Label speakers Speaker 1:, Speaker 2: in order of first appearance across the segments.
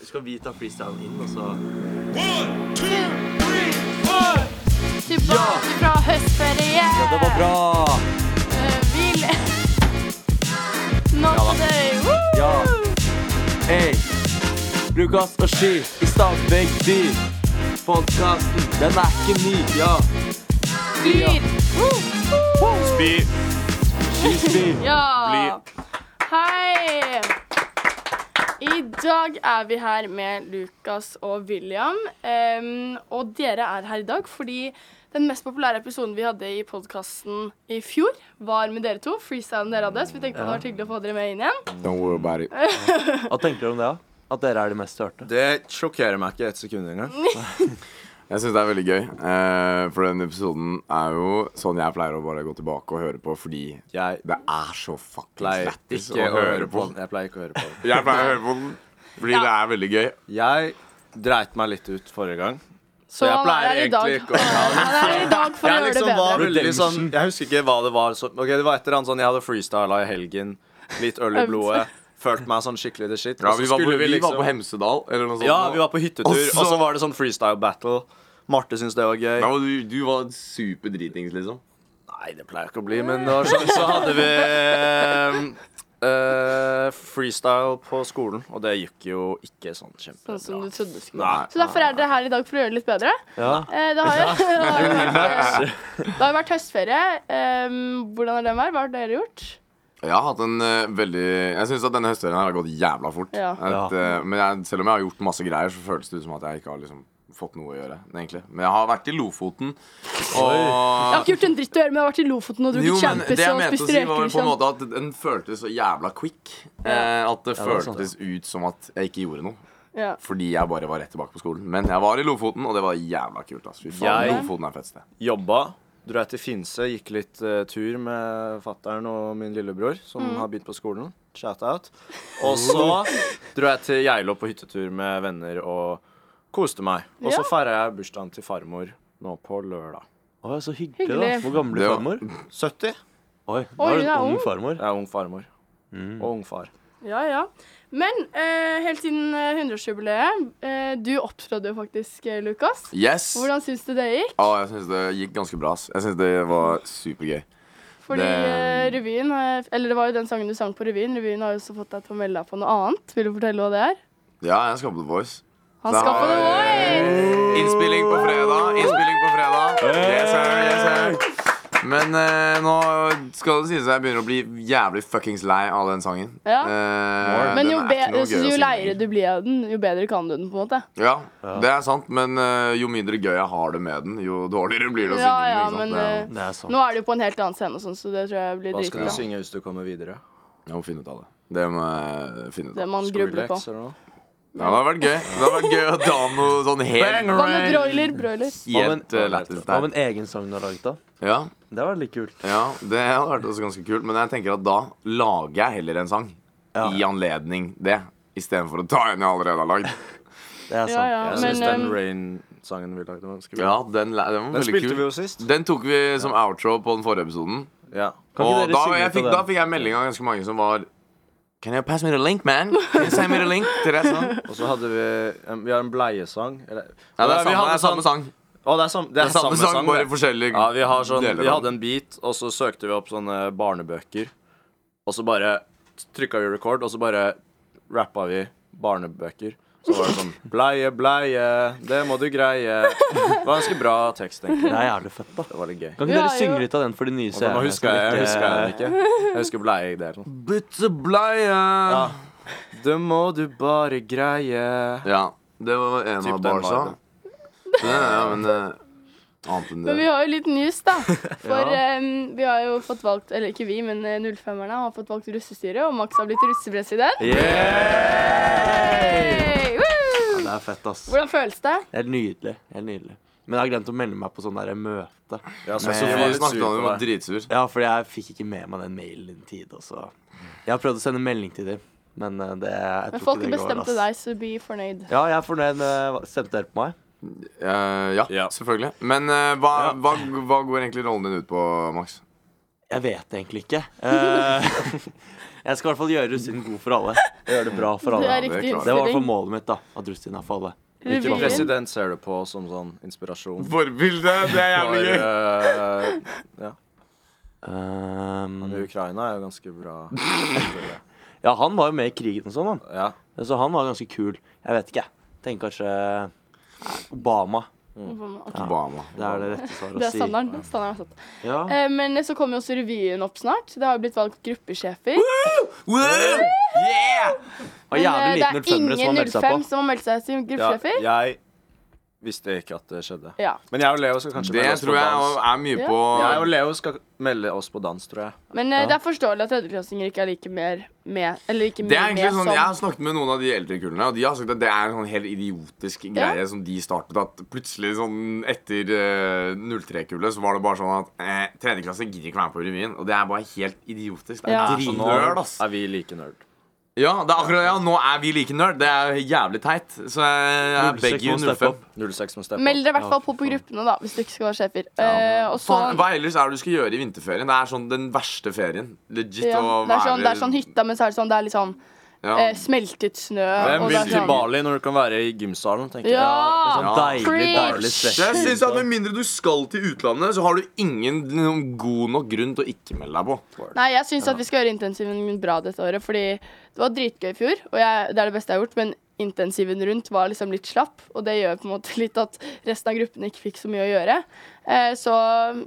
Speaker 1: Skal vi ta freestylen inn, altså. og så
Speaker 2: Tilbake fra høstferie.
Speaker 3: Ja, det var bra.
Speaker 2: Eh, Hvil. Nå
Speaker 3: Ja da.
Speaker 2: på deg. Woo!
Speaker 3: Ja. Hey. Bruk gass og ski i stagbegg dyr. Podkasten, den er ikke ny. Ja.
Speaker 2: Glir. Woo!
Speaker 4: Spy,
Speaker 3: Skispy.
Speaker 2: Ja.
Speaker 4: bli.
Speaker 2: Hei. I dag er vi her med Lukas og William. Em, og dere er her i dag fordi den mest populære episoden vi hadde i podkasten i fjor, var med dere to. Freestylen dere hadde. Så vi tenkte det var hyggelig å få dere med inn igjen.
Speaker 5: Don't worry about it.
Speaker 3: Hva tenker du om det? da? At dere er de mest hørte?
Speaker 4: Det sjokkerer meg ikke et sekund engang.
Speaker 5: Jeg syns det er veldig gøy, eh, for den episoden er jo sånn jeg pleier å bare gå tilbake og høre på fordi
Speaker 4: Jeg
Speaker 5: det er så fuckings
Speaker 4: pleier
Speaker 5: lættis
Speaker 4: ikke å høre på den. Jeg pleier ikke å høre på den.
Speaker 5: Jeg pleier å høre på den fordi det er veldig gøy.
Speaker 4: Jeg dreit meg litt ut forrige gang.
Speaker 2: Så
Speaker 4: jeg
Speaker 2: han
Speaker 4: pleier
Speaker 2: er her i dag.
Speaker 4: egentlig ikke å-
Speaker 2: Han er her i dag for å
Speaker 4: Jeg
Speaker 2: gjøre det
Speaker 4: liksom var
Speaker 2: bedre.
Speaker 4: veldig
Speaker 3: Redemption.
Speaker 4: sånn Jeg husker ikke hva det var. Så, ok, det var et eller annet sånn Jeg hadde freestyla i helgen. Litt øl i
Speaker 2: Øvd.
Speaker 4: blodet. Følte meg sånn skikkelig the shit.
Speaker 5: Ja,
Speaker 4: og så
Speaker 5: vi, var på,
Speaker 4: skulle
Speaker 5: vi var
Speaker 4: liksom-
Speaker 5: på Hemsedal eller noe sånt.
Speaker 4: Ja, vi var på hyttetur,
Speaker 5: Og
Speaker 4: og
Speaker 5: så-
Speaker 4: så, var det sånn freestyle battle. Marte syntes det var gøy.
Speaker 5: Da var du, du var superdritings, liksom.
Speaker 4: Nei, det pleier ikke å bli, men det var sånn, så hadde vi eh, eh, freestyle på skolen, og det gikk jo ikke sånn
Speaker 2: Sånn som
Speaker 4: kjempebra.
Speaker 2: du trodde det skulle.
Speaker 4: Nei.
Speaker 2: Så derfor er dere her i dag for å gjøre det litt bedre. Eh, Det har jo det har jo vært, eh, det har jo vært høstferie. Em, Hvordan har den vært? Hva har dere gjort?
Speaker 5: Jeg har hatt en eh, veldig Jeg syns at denne høstferien her har gått jævla fort.
Speaker 2: Ja.
Speaker 5: At, eh, men jeg, selv om jeg har gjort masse greier, så føles det ut som at jeg ikke har liksom fått noe å gjøre. egentlig Men jeg har vært i Lofoten.
Speaker 2: Jeg
Speaker 5: Og
Speaker 2: har ikke gjort en dritt å gjøre, men jeg har vært i Lofoten og
Speaker 5: Jo,
Speaker 2: drukket
Speaker 5: men
Speaker 2: champis
Speaker 5: det jeg
Speaker 2: og
Speaker 5: mente å
Speaker 2: spist
Speaker 5: si
Speaker 2: reker.
Speaker 5: var på en
Speaker 2: Liksom.
Speaker 5: måte at den føltes så jævla quick. Eh, at det
Speaker 3: Ja, det er sant,
Speaker 5: føltes ut som at jeg ikke gjorde noe.
Speaker 2: Ja.
Speaker 5: Fordi jeg bare var rett tilbake på skolen. Men jeg var i Lofoten, og det var jævla kult. ass. Fy faen,
Speaker 4: Jeg-
Speaker 5: Lofoten er et fett sted.
Speaker 4: Jobba. Dro jeg til Finse, gikk litt eh, tur med fattern og min lillebror, som har begynt på skolen. Shout-out. Og så dro jeg til Geilo på hyttetur med venner og koste meg. Og
Speaker 2: Ja.
Speaker 4: så feira jeg bursdagen til farmor nå på lørdag.
Speaker 3: Å, så hyggelig, da.
Speaker 2: Hyggelig.
Speaker 3: Hvor gammel
Speaker 5: Det
Speaker 3: er
Speaker 5: var-
Speaker 3: farmor?
Speaker 4: 70.
Speaker 3: Oi, da
Speaker 2: Oi,
Speaker 3: er du
Speaker 2: hun er
Speaker 3: en ung
Speaker 2: ung.
Speaker 3: farmor. Mm.
Speaker 4: Jeg er ung farmor. Og ung far.
Speaker 2: ja, ja. Men eh, helt siden eh, 100-årsjubileet eh, Du opptrådde jo faktisk, eh, Lukas.
Speaker 5: Yes!
Speaker 2: Hvordan syns du det gikk?
Speaker 5: Å, jeg syns det gikk ganske bra. ass. Jeg syns det var supergøy.
Speaker 2: Fordi eh,
Speaker 5: Det-
Speaker 2: revyen eh, Eller det var jo den sangen du sang på revyen. Revyen har jo også fått deg til å melde deg på noe annet. Vil du fortelle hva det er?
Speaker 5: Ja, jeg skapte voice.
Speaker 2: Han
Speaker 5: Det
Speaker 2: skal på
Speaker 5: har-
Speaker 2: The Voice!
Speaker 5: Innspilling på fredag. Innspilling på fredag. Yes, sir, yes, sir. Men eh, nå skal det sies at jeg begynner å bli jævlig fuckings lei av den sangen.
Speaker 2: Ja.
Speaker 5: Eh,
Speaker 2: Men
Speaker 5: den
Speaker 2: jo,
Speaker 5: er
Speaker 2: be
Speaker 5: ikke noe
Speaker 2: så
Speaker 5: gøy å
Speaker 2: jo
Speaker 5: synge.
Speaker 2: leiere du blir av den, jo bedre kan du den, på en måte.
Speaker 5: Ja, det er sant, men eh, jo mindre gøy jeg har det med den, jo dårligere blir det å synge
Speaker 2: Ja, ja,
Speaker 5: den. ikke sant?
Speaker 2: men
Speaker 5: Det er-
Speaker 2: eh,
Speaker 3: Det er sant.
Speaker 2: nå er du jo på en helt annen scene, og sånn, så det tror jeg blir
Speaker 4: Hva skal du
Speaker 2: dritbra.
Speaker 4: synge hvis du kommer videre?
Speaker 5: Jeg må finne ut av det. Det må jeg finne ut
Speaker 2: Det
Speaker 5: av.
Speaker 2: man grubler på.
Speaker 4: Skrillex eller noe?
Speaker 5: Ja, det har vært gøy. Det har vært gøy å ta noe sånn helt,
Speaker 2: Hva med broiler? Broiler.
Speaker 3: Hva med
Speaker 5: helt eh, lættis
Speaker 3: hva med
Speaker 5: der.
Speaker 3: en egen sang du har laget, da?
Speaker 5: Ja,
Speaker 3: Det var litt kult.
Speaker 5: ja, det hadde vært også ganske kult, men jeg tenker at da lager jeg heller en sang
Speaker 3: Ja.
Speaker 5: i anledning det, istedenfor å ta en jeg allerede har lagd.
Speaker 3: Det er sant.
Speaker 2: Ja, ja,
Speaker 4: Jeg
Speaker 2: men
Speaker 4: syns den
Speaker 2: ehm,
Speaker 4: Rain-sangen vi lagde, var ganske bra.
Speaker 5: Ja, den, la- den var
Speaker 4: Den
Speaker 5: veldig
Speaker 4: spilte
Speaker 5: kul.
Speaker 4: vi jo sist.
Speaker 5: Den tok vi som outro på den forrige episoden.
Speaker 4: Ja.
Speaker 3: Kan ikke
Speaker 5: Og
Speaker 3: dere
Speaker 5: da,
Speaker 3: synge
Speaker 5: jeg
Speaker 3: på
Speaker 5: fikk,
Speaker 3: den?
Speaker 5: da fikk jeg melding av ganske mange som var Can you pass me the link, man? Can you send me the link? Til det, sånn.
Speaker 4: Og så hadde vi en, Vi har en bleiesang. Eller,
Speaker 5: Ja, det er
Speaker 4: vi
Speaker 5: samme,
Speaker 4: hadde
Speaker 5: det er samme
Speaker 4: sånn-
Speaker 5: sang.
Speaker 4: Å, det er samme, det er samme sang,
Speaker 5: bare
Speaker 4: det.
Speaker 5: forskjellig.
Speaker 4: Ja, vi, har sånn,
Speaker 5: deler
Speaker 4: vi
Speaker 5: av
Speaker 4: hadde en beat, og så søkte vi opp sånne barnebøker. Og så bare trykka vi record, og så bare rappa vi barnebøker. Så var det sånn Bleie, bleie, det må du greie. Det var ganske bra tekst, egentlig.
Speaker 3: Det er jævlig fett, da.
Speaker 4: Det var litt gøy.
Speaker 3: Kan
Speaker 2: Vi
Speaker 3: ikke dere
Speaker 2: har
Speaker 3: synge
Speaker 2: jo-
Speaker 3: litt av den for de nye
Speaker 4: Og nå
Speaker 3: seerne? som
Speaker 4: husker jeg, husker jeg den ikke. Jeg husker bleiedelen.
Speaker 5: Bytte bleie. Ja.
Speaker 4: Det må du bare greie.
Speaker 5: det var en
Speaker 4: Typ
Speaker 5: av
Speaker 4: den
Speaker 5: barsa.
Speaker 4: viben.
Speaker 5: Ja, ja, men eh, annet enn
Speaker 2: Men vi
Speaker 5: det.
Speaker 2: har jo litt news, da. For em, vi har jo fått valgt, eller ikke vi, men eh, 05-erne har fått valgt russestyre, og Max har blitt russepresident. Hey! Woo!
Speaker 3: Det er fett, ass.
Speaker 2: Hvordan føles det?
Speaker 3: Helt nydelig. Helt nydelig. Men jeg har glemt å melde meg på sånn der møte.
Speaker 4: Ja, så
Speaker 3: Men-
Speaker 4: Sofie
Speaker 5: Vi
Speaker 4: var litt sur
Speaker 5: snakket om
Speaker 4: på
Speaker 5: det, var
Speaker 4: deg.
Speaker 5: dritsur.
Speaker 3: Ja, fordi jeg fikk ikke med meg den mailen i tide. og så- Jeg har prøvd å sende melding til dem, men eh, det, jeg tror
Speaker 2: Men folk
Speaker 3: ikke det går.
Speaker 2: bestemte
Speaker 3: ass.
Speaker 2: deg, så be fornøyd.
Speaker 3: Ja, jeg er fornøyd med Stemte dere på meg?
Speaker 5: Eh, ja,
Speaker 4: Ja.
Speaker 5: selvfølgelig. Men eh, hva,
Speaker 4: Ja.
Speaker 5: hva, hva går egentlig rollen din ut på, Max?
Speaker 3: Jeg vet egentlig ikke. Eh, Jeg skal i hvert fall gjøre russetiden god for alle. Og gjøre det bra for
Speaker 2: Det
Speaker 3: alle.
Speaker 2: er
Speaker 5: det er
Speaker 2: riktig
Speaker 3: Det var i
Speaker 5: klart.
Speaker 3: hvert fall
Speaker 2: innstilling.
Speaker 3: målet mitt, da. At russetiden er for alle.
Speaker 2: Revyen.
Speaker 4: President ser du på som sånn inspirasjon.
Speaker 5: Forbilde! Det er
Speaker 4: For,
Speaker 5: jævlig gøy.
Speaker 4: eh, ja.
Speaker 3: Ehm,
Speaker 4: Ukraina er jo ganske bra.
Speaker 3: ja, han var jo med i krigen og sånn, han.
Speaker 4: Ja.
Speaker 3: Så han var ganske kul. Jeg vet ikke, jeg. Tenker kanskje Obama.
Speaker 2: Mm, Ok,
Speaker 5: Obama.
Speaker 3: Det er det rette svaret å si.
Speaker 2: Det er standarden. standarden er satt.
Speaker 3: Ja.
Speaker 2: Eh, Men så kommer jo også revyen opp snart. Det har jo blitt valgt gruppesjefer.
Speaker 5: Woo! Yeah!
Speaker 3: Og jævlig
Speaker 2: Men, eh,
Speaker 3: liten 05-ere som har meldt seg på.
Speaker 2: som har meldt seg som
Speaker 4: ja.
Speaker 2: gruppesjefer.
Speaker 4: Jeg visste ikke at det skjedde.
Speaker 2: Ja.
Speaker 4: Men jeg og Leo skal kanskje
Speaker 5: Det
Speaker 4: melde oss
Speaker 5: tror
Speaker 4: på
Speaker 5: jeg
Speaker 4: dans.
Speaker 5: er mye på
Speaker 4: Jeg og Leo skal melde oss på dans, tror jeg.
Speaker 2: Men eh, det er forståelig at tredjeklassinger ikke er like mer med Eller ikke
Speaker 5: Det
Speaker 2: mer
Speaker 5: er egentlig
Speaker 2: med
Speaker 5: sånn,
Speaker 2: som
Speaker 5: Jeg har snakket med noen av de eldre kullene, og de har sagt at det er en sånn helt idiotisk greie som de startet. At plutselig sånn etter eh, 03-kullet så var det bare sånn at eh, tredjeklasse gidder ikke være med på revyen. Og det er bare helt idiotisk. Det er
Speaker 2: Ja.
Speaker 5: ja.
Speaker 4: Så Altså, nå
Speaker 5: dritnerd, ass.
Speaker 4: er vi like nerd.
Speaker 5: Ja, det er akkurat ja, Nå er vi like nerd. Det er jævlig teit. Så eh, jeg, jeg
Speaker 3: 06
Speaker 5: begge
Speaker 3: må steppe
Speaker 5: 05.
Speaker 3: opp.
Speaker 4: 06 må steppe opp.
Speaker 2: Meld dere i hvert fall på på gruppene, da, hvis du ikke skal være sjefer. Eh, og så
Speaker 5: Faen, hva ellers er det du skal gjøre i vinterferien? Det er sånn den verste ferien. Legit
Speaker 2: ja,
Speaker 5: å
Speaker 2: det, er sånn,
Speaker 5: være-
Speaker 2: det er sånn hytta, men så er det sånn Det er litt sånn
Speaker 5: Ja.
Speaker 2: eh, smeltet snø.
Speaker 4: Hvem
Speaker 2: og det
Speaker 4: vil
Speaker 2: er
Speaker 4: til
Speaker 2: sånn-
Speaker 4: Bali når du kan være i gymsalen? tenker jeg.
Speaker 2: Ja!
Speaker 3: Sånn deilig,
Speaker 2: Preach!
Speaker 3: deilig svett.
Speaker 5: Jeg synes at Med mindre du skal til utlandet, så har du ingen noen god nok grunn til å ikke melde deg på.
Speaker 2: Nei, jeg syns at vi skal gjøre intensiven min bra dette året, fordi det var dritgøy i fjor, og jeg, det er det beste jeg har gjort, men intensiven rundt var liksom litt slapp, og det gjør på en måte litt at resten av gruppene ikke fikk så mye å gjøre. Eh, så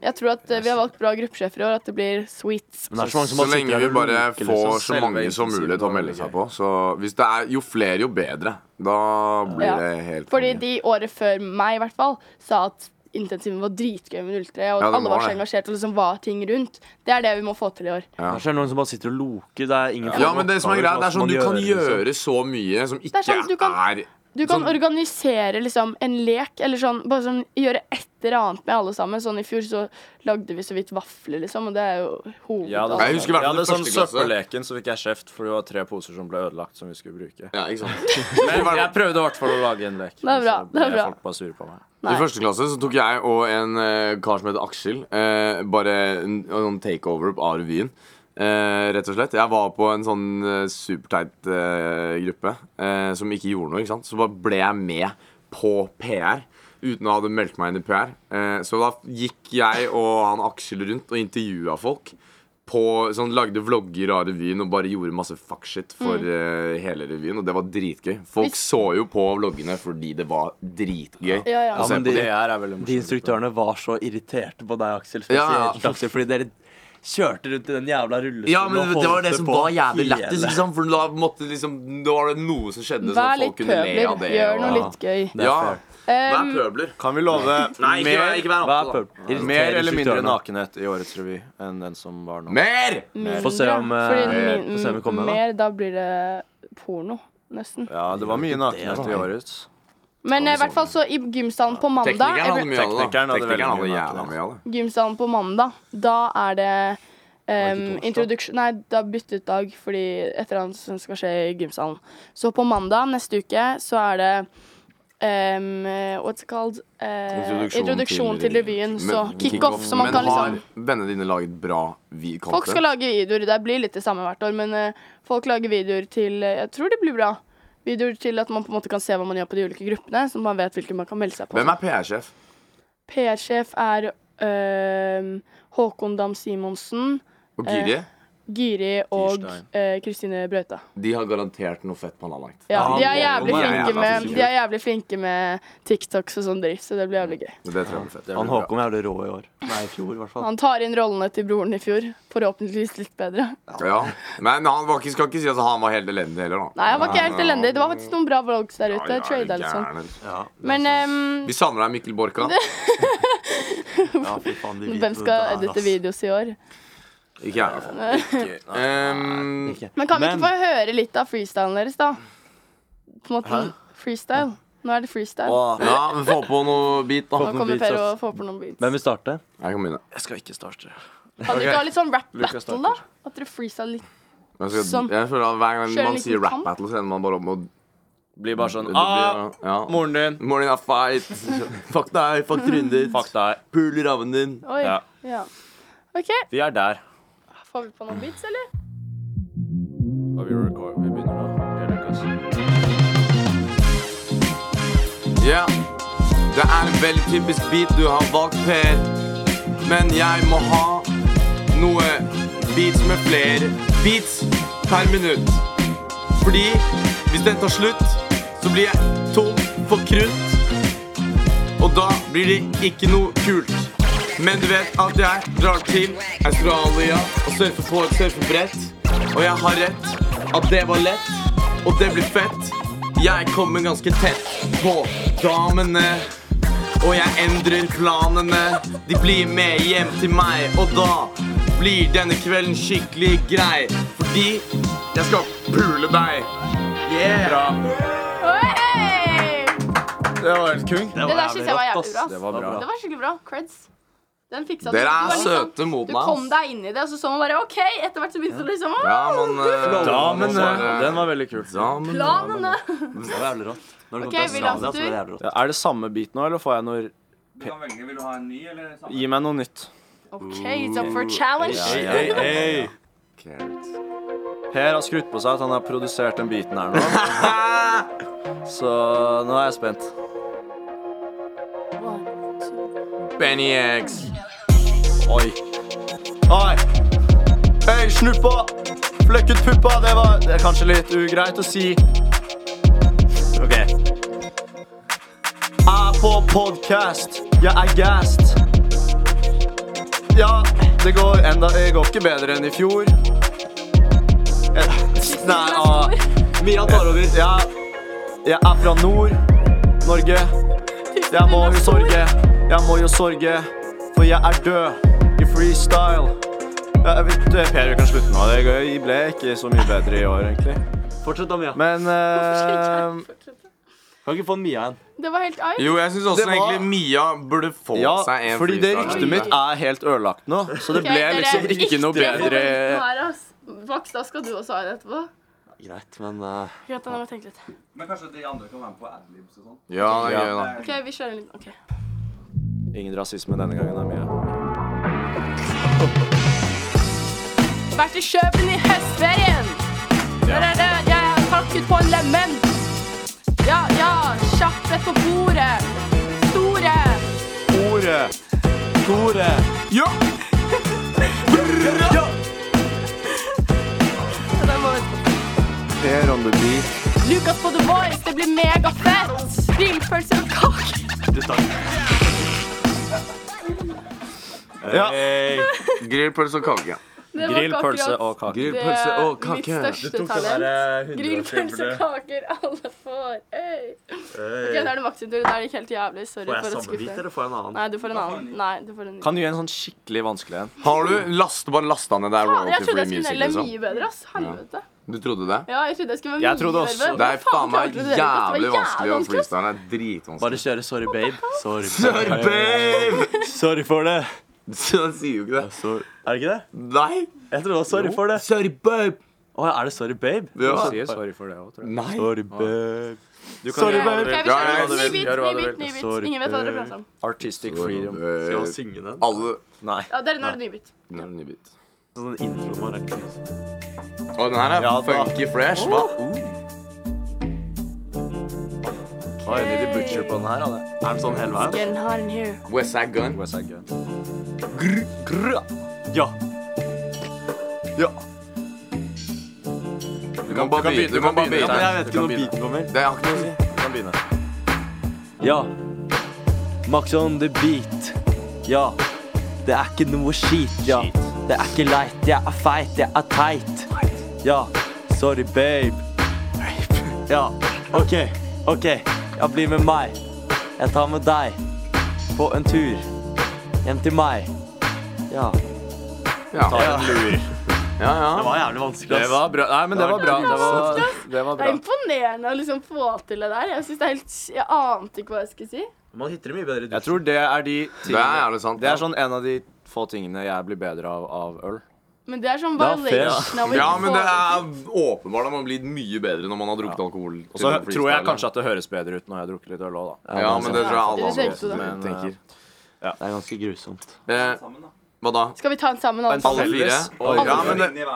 Speaker 2: jeg tror at eh, vi har valgt bra gruppesjefer i år, at det blir sweet.
Speaker 3: Men det er så mange som
Speaker 5: Så
Speaker 3: har
Speaker 5: lenge
Speaker 3: sittet der
Speaker 5: vi
Speaker 3: og
Speaker 5: bare
Speaker 3: loket,
Speaker 5: får
Speaker 3: liksom.
Speaker 5: så mange som mulig til å melde seg på. Så hvis det er Jo flere, jo bedre. Da blir
Speaker 2: Ja.
Speaker 5: det helt
Speaker 2: Fordi
Speaker 5: konge.
Speaker 2: de året før meg, i hvert fall, sa at intensiven var dritgøy med 03, og
Speaker 5: Ja,
Speaker 2: at
Speaker 5: det
Speaker 2: alle var
Speaker 5: var
Speaker 2: så
Speaker 5: det.
Speaker 2: engasjert, og liksom var ting rundt. Det er det vi må få til i år.
Speaker 3: Kanskje det er noen som bare sitter og loker. Det er ingen
Speaker 5: Ja, men det som er
Speaker 3: oppgaver,
Speaker 5: greit, det er
Speaker 3: så
Speaker 5: sånn du
Speaker 3: man
Speaker 5: kan
Speaker 3: gjør, liksom.
Speaker 5: gjøre så mye som ikke
Speaker 2: er sånn, du kan-
Speaker 5: er
Speaker 2: Du kan
Speaker 5: Sånn-
Speaker 2: organisere liksom en lek, eller sånn, bare sånn gjøre et eller annet med alle sammen. Sånn i fjor så lagde vi så vidt vafler, liksom, og det er jo
Speaker 4: Jeg hadde,
Speaker 2: hovedet.
Speaker 5: Jeg husker i hvert fall
Speaker 4: jeg hadde
Speaker 5: første
Speaker 4: sånn
Speaker 5: klasse.
Speaker 4: søppelleken, så fikk jeg kjeft, for det var tre poser som ble ødelagt, som vi skulle bruke.
Speaker 5: Ja, ikke sant?
Speaker 4: Men jeg prøvde i hvert fall å lage en lek.
Speaker 2: Det er bra,
Speaker 4: men så
Speaker 2: det er
Speaker 4: ble
Speaker 2: bra.
Speaker 4: Folk bare sure på meg.
Speaker 2: Nei.
Speaker 5: I første klasse så tok jeg og en eh, kar som heter Aksel, eh, bare en, en sånn takeover av revyen. Eh, rett og slett. Jeg var på en sånn eh, superteit eh, gruppe eh, som ikke gjorde noe. ikke sant? Så bare ble jeg med på PR uten å ha det meldt meg inn i PR. Eh, så da gikk jeg og han Aksel rundt og intervjua folk. På, sånn, lagde vlogger av revyen og bare gjorde masse fuckshit for eh, hele revyen. Og det var dritgøy. Folk
Speaker 2: Mm. Hvis-
Speaker 5: så jo på vloggene fordi det var dritgøy.
Speaker 2: Ja, ja.
Speaker 5: å se
Speaker 3: men
Speaker 5: på
Speaker 3: de-
Speaker 5: det.
Speaker 4: PR er veldig morsomt.
Speaker 3: De instruktørene var så irriterte på deg, Aksel. Spesielt
Speaker 5: Ja, ja.
Speaker 3: Aksel, fordi dere kjørte rundt i den jævla
Speaker 1: Liksom.
Speaker 3: rullestolen
Speaker 5: Ja, men
Speaker 3: og
Speaker 5: det, det var
Speaker 3: holdt
Speaker 5: det som
Speaker 3: på
Speaker 5: var jævlig
Speaker 3: hele-
Speaker 5: lættis. ikke sant? For da måtte liksom Da var det noe som skjedde, så
Speaker 2: Vær
Speaker 5: folk
Speaker 2: litt
Speaker 5: kunne le av
Speaker 2: pøbler.
Speaker 5: det.
Speaker 2: Gjør
Speaker 5: og-
Speaker 2: noe litt gøy.
Speaker 3: Det er
Speaker 5: Ja,
Speaker 3: fair.
Speaker 5: vær
Speaker 2: Um,
Speaker 5: pøbler.
Speaker 4: Kan vi love
Speaker 5: Nei, ikke, vær- ikke
Speaker 4: mer,
Speaker 5: vær
Speaker 3: Hva er pub?
Speaker 5: opptatt, da.
Speaker 3: Irriterer
Speaker 4: mer eller mindre
Speaker 3: instruktørene.
Speaker 4: nakenhet i årets revy enn den som var nå?
Speaker 5: Mer!
Speaker 2: mindre,
Speaker 3: Få se om, eh,
Speaker 2: fordi
Speaker 3: få se om vi kommer, da.
Speaker 2: Mer, da blir det porno, nesten.
Speaker 4: Ja, det var mye nakenhet
Speaker 3: Det
Speaker 4: i
Speaker 3: var-
Speaker 4: årets.
Speaker 2: Men eh, i hvert fall så i gymsalen på mandag
Speaker 5: Teknikeren hadde mye av det. da.
Speaker 4: Teknikeren hadde
Speaker 5: Teknikeren
Speaker 4: veldig
Speaker 5: hadde
Speaker 4: mye
Speaker 5: jævla
Speaker 4: av det.
Speaker 5: mye av det.
Speaker 2: Gymsalen på mandag, da er det um, introduksjon Nei, da byttet dag fordi et eller annet som skal skje i gymsalen. Så på mandag neste uke så er det um, What's it called? Eh,
Speaker 5: Introduksjon
Speaker 2: introduksjon
Speaker 5: til
Speaker 2: til revyen. Så
Speaker 5: Men-
Speaker 2: kickoff, så man
Speaker 5: Men
Speaker 2: kan
Speaker 5: har
Speaker 2: liksom
Speaker 5: vennene dine laget bra vi
Speaker 2: Folk skal
Speaker 5: content?
Speaker 2: lage videoer. Det blir litt det samme hvert år, men eh, folk lager videoer til eh, Jeg tror det blir bra. Videoer til at man på en måte kan se hva man gjør på de ulike gruppene, så man vet hvilken man kan melde seg på.
Speaker 5: Hvem er PR-sjef?
Speaker 2: PR-sjef er um, Håkon Dam Simonsen.
Speaker 5: Og Giri?
Speaker 2: Giri og
Speaker 4: Kirstein.
Speaker 2: eh, Kristine Brauta.
Speaker 5: De har garantert noe fett man har lagt.
Speaker 3: Ja,
Speaker 2: Ja, de
Speaker 3: det
Speaker 2: er
Speaker 3: er
Speaker 2: jævlig
Speaker 3: jo
Speaker 5: jævla
Speaker 2: flinke med,
Speaker 5: fysisk.
Speaker 2: de er jævlig flinke med TikToks og sånn dritt, så det blir jævlig gøy.
Speaker 5: Det tror jeg er fett.
Speaker 3: Han Håkon er jævlig rå i år. Nei, i fjor, i hvert fall.
Speaker 2: Han tar inn rollene til broren i fjor, forhåpentligvis litt bedre.
Speaker 5: Ja. Men han var ikke, skal ikke si at han var helt elendig heller, da.
Speaker 2: Nei, han var ikke helt
Speaker 5: Ja.
Speaker 2: elendig. Det var faktisk noen bra vlogs der ute.
Speaker 5: Ja, ja,
Speaker 2: Trade
Speaker 5: er du
Speaker 2: eller sånn.
Speaker 5: gæren, eller?
Speaker 2: Men ehm,
Speaker 5: Vi savner deg, Mikkel Borka.
Speaker 3: Ja, fy faen, de
Speaker 2: hvem skal edite videos i år?
Speaker 5: Ikke jeg, i hvert fall. Ehm,
Speaker 2: Men kan vi ikke få høre litt av freestylen deres, da? På en måte freestyle. Nå er det freestyle.
Speaker 4: Åh,
Speaker 5: ja, men få på noe bit, da.
Speaker 2: Nå kommer Per og får på noen beats.
Speaker 3: Hvem vil starte?
Speaker 5: Jeg kan begynne.
Speaker 4: jeg skal ikke starte.
Speaker 2: Kan dere ikke ha litt sånn rap
Speaker 4: Lukas
Speaker 2: battle, da? At dere freestyler litt?
Speaker 5: Jeg, skal,
Speaker 2: Sånn.
Speaker 5: jeg føler at Hver gang
Speaker 2: Kjøre
Speaker 5: man
Speaker 2: litt
Speaker 5: sier
Speaker 2: med
Speaker 5: rap
Speaker 2: kamp.
Speaker 5: battle, så ender man bare opp med
Speaker 4: Blir bare sånn
Speaker 5: å
Speaker 4: ah,
Speaker 5: det blir- ja.
Speaker 4: Moren din.
Speaker 5: Moren din er feit. Fuck deg. Fuck trynet ditt.
Speaker 4: Fuck deg.
Speaker 5: Pul ravnen din.
Speaker 2: Oi.
Speaker 4: Ja.
Speaker 2: Ja. OK.
Speaker 4: Vi er der.
Speaker 2: Får vi på noen beats, eller?
Speaker 4: Ja, vi, record, vi begynner nå. Vi rekker oss.
Speaker 5: Ja, det er en veldig typisk beat du har valgt, Per. Men jeg må ha noe beats med flere beats per minutt. Fordi hvis den tar slutt, så blir jeg tom for krutt. Og da blir det ikke noe kult. Men du vet at jeg drar til Australia og surfer på et surfebrett. Og jeg har rett at det var lett, og det blir fett. Jeg kommer ganske tett på damene. Og jeg endrer planene. De blir med hjem til meg, og da blir denne kvelden skikkelig grei. Fordi jeg skal pule deg. Yeah.
Speaker 2: Oi!
Speaker 4: Det var helt kung.
Speaker 2: Det der synes jeg var jævlig bra. ass.
Speaker 4: Det var bra.
Speaker 2: Det var skikkelig bra. Creds. Den fiksa
Speaker 5: Dere
Speaker 2: Du var
Speaker 5: er
Speaker 2: litt sånn-
Speaker 5: søte mot
Speaker 2: Du
Speaker 5: meg.
Speaker 2: kom
Speaker 5: ass.
Speaker 2: deg inn i det, og så så man bare OK, etter hvert så begynte det liksom
Speaker 5: Ja,
Speaker 2: «Åh,
Speaker 5: men eh,
Speaker 4: Damene.
Speaker 5: bare-
Speaker 4: Den var veldig kul.
Speaker 5: Damen.
Speaker 2: Planene!
Speaker 1: Det var jævlig rått. Når det kom
Speaker 2: Ok,
Speaker 1: til
Speaker 2: Williams
Speaker 1: Australia, så var det jævlig rått.
Speaker 4: Ja, er det samme beat nå, eller får jeg noe Gi meg noe nytt.
Speaker 2: OK, it's up for a challenge.
Speaker 4: Hey, hey, hey. Per har skrudd på seg at han har produsert den biten her nå.
Speaker 5: Ah,
Speaker 4: Så nå er jeg spent.
Speaker 5: Benny X.
Speaker 4: Oi. Oi. Hei, snuppa. Flekk ut puppa. Det var det er kanskje litt ugreit å si. OK. Jeg er på podkast. Jeg er gassed. Ja, det går enda Det går ikke bedre enn i fjor. Jeg- Nei, ah.
Speaker 1: Mia tar over.
Speaker 4: Ja, jeg er fra nord, Norge. Jeg må jo sorge, jeg må jo sorge, for jeg er død i freestyle. Ja, Jeg vet, eh, Per, vi kan slutte nå. Det gøy- ble ikke så mye bedre i år, egentlig.
Speaker 1: Fortsett da, Mia.
Speaker 4: Men eh,
Speaker 1: Kan ikke få en Mia en.
Speaker 2: Det var helt ice.
Speaker 5: Jo, jeg syns også
Speaker 4: Det var-
Speaker 5: egentlig Mia burde få
Speaker 4: ja,
Speaker 5: seg en
Speaker 4: fordi det
Speaker 5: freestyle.
Speaker 4: ryktet mitt er helt ødelagt nå, så det
Speaker 2: Ok,
Speaker 4: ble
Speaker 2: dere,
Speaker 4: liksom ikke noe
Speaker 2: få
Speaker 4: bedre.
Speaker 2: den her, ass. Max, da skal du også ha en etterpå.
Speaker 1: Greit, men eh,
Speaker 2: Greit, da må jeg tenke litt.
Speaker 5: Ja, det er gøy, da.
Speaker 2: OK, vi kjører en liten OK.
Speaker 4: Ingen rasisme denne gangen, det er mye.
Speaker 2: Vært i Kjøben i høstferien. Der er det, jeg har takket på en lemen. Ja, ja, kjapt rett på bordet. Store.
Speaker 4: Ordet. Ordet.
Speaker 5: Ja!
Speaker 2: Ja, den må vi-
Speaker 4: Per on the beat.
Speaker 2: Lukas på The Voice, det blir megafett. Grillpølse og kake.
Speaker 4: Ja.
Speaker 5: Grillpølse og kake.
Speaker 2: Det var
Speaker 4: Grill,
Speaker 2: ikke
Speaker 4: pølse
Speaker 2: akkurat
Speaker 4: og kake.
Speaker 2: Det
Speaker 5: Grillpølse
Speaker 2: er
Speaker 5: og
Speaker 2: mitt
Speaker 5: kake.
Speaker 2: største
Speaker 1: eh,
Speaker 2: talent. Grill, pølse og kaker alle får. Øy. Ok, Da er det Max sin tur. Da er det ikke helt jævlig. Sorry
Speaker 1: Eh. Får jeg
Speaker 2: for å
Speaker 1: samme bit,
Speaker 2: skuffe.
Speaker 1: eller får jeg en annen?
Speaker 2: Nei, du får en annen. Nei, du får en ny.
Speaker 4: Kan du gi en sånn skikkelig vanskelig en?
Speaker 5: Har du last, bare lasta ned det er
Speaker 2: Faen, jeg
Speaker 5: royalty
Speaker 2: trodde
Speaker 5: free
Speaker 2: jeg
Speaker 5: music,
Speaker 2: skulle nelle
Speaker 5: liksom?
Speaker 2: mye bedre, ass. Helvete.
Speaker 5: Du trodde det?
Speaker 2: Ja, jeg trodde jeg skulle være mye
Speaker 4: Jeg trodde også-
Speaker 2: bedre.
Speaker 5: Det er
Speaker 2: Faen,
Speaker 5: faen meg
Speaker 2: klarte du det, Lukas? Det var
Speaker 5: jævlig vanskelig å
Speaker 2: jævlig vanskelig, ass.
Speaker 5: freestyle. Det er dritvanskelig.
Speaker 1: Bare kjøre Sorry, babe. Sorry, babe.
Speaker 5: Babe!
Speaker 1: Sorry for det.
Speaker 5: Så han sier jo ikke det.
Speaker 1: Sorry. Er det ikke det?
Speaker 5: Nei!
Speaker 1: Jeg tror det var Sorry for det.
Speaker 5: Sorry, babe!
Speaker 1: Å, er det Sorry, babe?
Speaker 5: Ja.
Speaker 4: Sier sorry for det òg, tror jeg.
Speaker 5: Nei.
Speaker 1: Sorry, babe.
Speaker 4: Du kan
Speaker 1: Sorry,
Speaker 4: gjøre hva
Speaker 2: Ok,
Speaker 4: du
Speaker 2: vi
Speaker 4: vil.
Speaker 5: Ja, ja,
Speaker 2: kjører
Speaker 5: ja,
Speaker 2: en ny
Speaker 5: det vil-
Speaker 2: bit,
Speaker 4: gjør
Speaker 2: ny
Speaker 4: hva det
Speaker 2: bit,
Speaker 4: vil.
Speaker 2: ny bit.
Speaker 1: Sorry,
Speaker 2: Ingen vet hva dere prater om.
Speaker 4: Artistic freedom.
Speaker 1: Skal jeg
Speaker 5: Eh,
Speaker 1: synge den?
Speaker 5: Alle
Speaker 4: Nei.
Speaker 2: Ja, dere, nå er det ny bit.
Speaker 5: Nå er det en ny bit.
Speaker 1: Sånn intro bare. Nei,
Speaker 5: Å, den her er
Speaker 4: Ja, da.
Speaker 5: funky fresh. Hva?
Speaker 4: Oi, Lilly Butcher på den her, hadde.
Speaker 1: Er den sånn hele veien?
Speaker 2: Getting hot in here.
Speaker 5: Westside Gun.
Speaker 4: West Side Gun.
Speaker 1: Ja.
Speaker 5: Ja. Du kan bare begynne. Du kan
Speaker 1: ja
Speaker 5: bare
Speaker 1: men
Speaker 5: begynne.
Speaker 1: jeg vet ikke når beaten kommer.
Speaker 5: Det er ikke noe å si.
Speaker 4: Du kan begynne.
Speaker 1: Ja. Max on the beat. Ja. Det er ikke noe skit, ja. Det er ikke leit. Jeg er feit, jeg er teit. Ja. Sorry, babe. Ja. OK, OK. Ja, bli med meg. Jeg tar med deg på en tur hjem til meg. Ja.
Speaker 5: Ja,
Speaker 4: Ta en lur.
Speaker 5: ja. ja.
Speaker 1: var jævlig vanskelig,
Speaker 4: Det var bra. Nei, men det var bra. Det var, det var
Speaker 2: Det er
Speaker 4: bra.
Speaker 2: imponerende å liksom få til det der. Jeg synes det er helt Jeg ante ikke hva jeg skulle si.
Speaker 1: Man hitter det mye bedre i
Speaker 4: Jeg tror det er de
Speaker 5: Det er
Speaker 4: tingene
Speaker 5: jævlig sant.
Speaker 4: Det er sånn en av de få tingene jeg blir bedre av av øl.
Speaker 2: Men det er sånn
Speaker 1: Ja, fair, ja.
Speaker 2: violation av å
Speaker 5: Ja,
Speaker 2: ikke
Speaker 5: men
Speaker 2: få
Speaker 5: det
Speaker 2: til.
Speaker 5: er åpenbart at man blir mye bedre når man har drukket alkohol.
Speaker 4: Og så tror jeg kanskje at det høres bedre ut når jeg har drukket litt øl òg, da.
Speaker 5: Ja, men det tror jeg alle andre
Speaker 2: Det
Speaker 4: eh,
Speaker 2: ser ut
Speaker 5: også
Speaker 2: som det.
Speaker 5: tenker.
Speaker 1: Det er ganske grusomt.
Speaker 5: Eh, Hva da?
Speaker 2: Skal vi ta den sammen? alle
Speaker 4: En
Speaker 2: sammen?
Speaker 5: Alle
Speaker 4: felles
Speaker 5: fire?
Speaker 4: og-
Speaker 5: Ja, men det,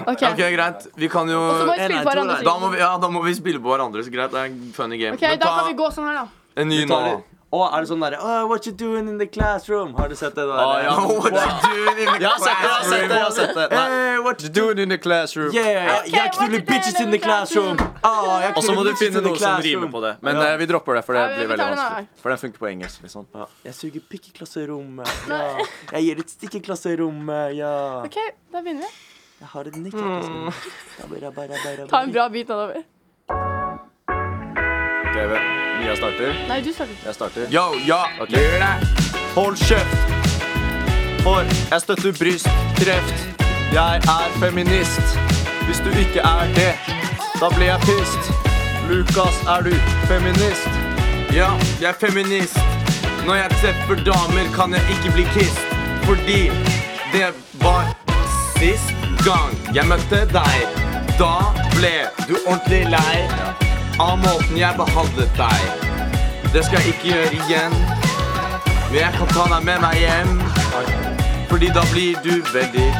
Speaker 2: Ok.
Speaker 5: ok, greit. Vi kan jo
Speaker 2: Og så må vi spille på hverandre.
Speaker 5: da må vi, ja, da må vi spille på hverandre, så greit. Det er en funny game.
Speaker 2: Ok, Da kan vi gå sånn her, da.
Speaker 5: en ny
Speaker 1: Vi
Speaker 5: nå.
Speaker 1: tar det. Å, er det sånn derre «Å, What you doing in the classroom? Har du sett det der?
Speaker 4: Å, ja.
Speaker 5: What you doing in the
Speaker 4: Jeg har sett det, jeg har sett det! jeg har sett det Nei.
Speaker 5: Hey, what you doing?
Speaker 4: Dude in the classroom.
Speaker 1: Yeah,
Speaker 2: Ok,
Speaker 1: jeg
Speaker 2: what you
Speaker 1: knuller
Speaker 2: doing
Speaker 1: bitches in the classroom. Ah, jeg
Speaker 4: Og så må
Speaker 1: knuller
Speaker 4: du
Speaker 1: bitches
Speaker 4: finne
Speaker 1: in the
Speaker 4: noe som
Speaker 1: classroom.
Speaker 4: rimer på det. Men
Speaker 1: Ja.
Speaker 4: eh, vi dropper det, for det
Speaker 2: Ja, vi-
Speaker 4: blir
Speaker 2: vi
Speaker 4: veldig
Speaker 2: tar den her.
Speaker 4: vanskelig. For den funker på engelsk. liksom
Speaker 1: Ja. Jeg suger pikk i klasserommet. Ja. Jeg gir et stikk i klasserommet. Ja.
Speaker 2: Ok, Da begynner vi.
Speaker 1: Jeg har et nikk i klasserommet.
Speaker 4: Mm.
Speaker 1: Dabba, dabba, dabba, dabba.
Speaker 2: Ta en bra bit nedover.
Speaker 4: Ok, vel. Mia starter.
Speaker 2: Nei, du starter.
Speaker 4: Jeg starter.
Speaker 5: Yo, ja,
Speaker 4: Ok.
Speaker 5: gjør det!
Speaker 4: Hold kjeft! For jeg støtter bryst, kreft. Jeg er feminist. Hvis du ikke er det, da blir jeg pissed. Lukas, er du feminist?
Speaker 5: Ja, jeg er feminist. Når jeg treffer damer, kan jeg ikke bli kissed. Fordi det var sist gang jeg møtte deg. Da ble du ordentlig lei av måten jeg behandlet deg. Det skal jeg ikke gjøre igjen. Men jeg kan ta deg med meg hjem. Fordi da blir du veldig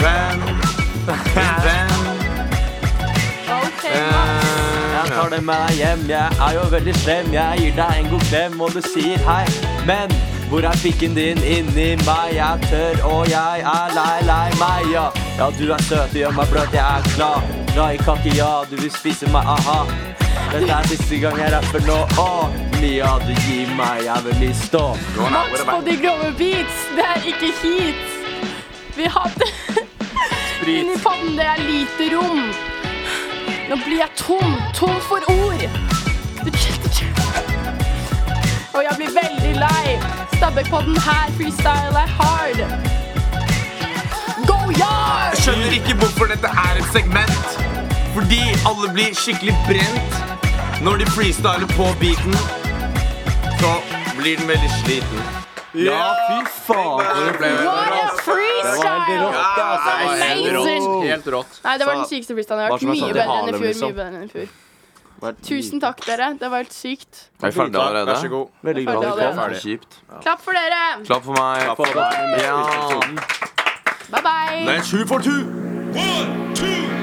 Speaker 5: fem. Fem.
Speaker 2: Ja, ok, nice.
Speaker 5: Eh,
Speaker 1: Jeg tar det med deg hjem, jeg er jo veldig slem. Jeg gir deg en god klem, og du sier hei. Men hvor er pikken din inni meg? Jeg er tørr, og jeg er lei, lei meg, ja. Ja, du er søt, du gjør meg bløt, jeg er glad. Glad i kake, ja, du vil spise meg, aha. Dette er siste gang jeg rapper nå, å. Mia, du gir meg, jeg vil bli stå.
Speaker 5: nå er
Speaker 2: Maks
Speaker 5: det
Speaker 2: på
Speaker 5: bare-
Speaker 2: de grove beats, det er ikke hit. Vi hadde Inni pannen, det er lite rom. Nå blir jeg tom, tom for ord. Og jeg blir veldig lei. Stabbekpodden her freestyle er hard. Go yard!
Speaker 5: Skjønner ikke hvorfor dette er et segment. Fordi alle blir skikkelig brent når de freestyler på beaten. Så blir den veldig sliten.
Speaker 1: Ja, fy faen.
Speaker 5: Det ble
Speaker 2: What a
Speaker 1: helt
Speaker 2: freestyle!
Speaker 1: rått.
Speaker 5: altså.
Speaker 4: altså.
Speaker 5: Helt
Speaker 2: Amazing!
Speaker 5: rått. Helt rått.
Speaker 2: Nei, det var den sykeste freestylen jeg har
Speaker 4: Hva
Speaker 2: hørt.
Speaker 4: som er
Speaker 2: Mye
Speaker 4: sant i
Speaker 2: bedre enn i
Speaker 4: Harlem,
Speaker 2: fjor.
Speaker 4: liksom.
Speaker 2: mye bedre enn i fjor. Tusen takk, dere. Det var helt sykt.
Speaker 5: Er vi ferdige allerede?
Speaker 4: Vær så god.
Speaker 1: Veldig
Speaker 2: glad
Speaker 1: glad
Speaker 2: du
Speaker 1: du
Speaker 2: kom.
Speaker 1: kom.
Speaker 5: Ferdig. Kjipt.
Speaker 2: Klapp for dere.
Speaker 5: Klapp for meg.
Speaker 4: Klapp for meg.
Speaker 5: Ja.
Speaker 2: Bye bye.
Speaker 5: Det er sju for tu.
Speaker 6: One, two,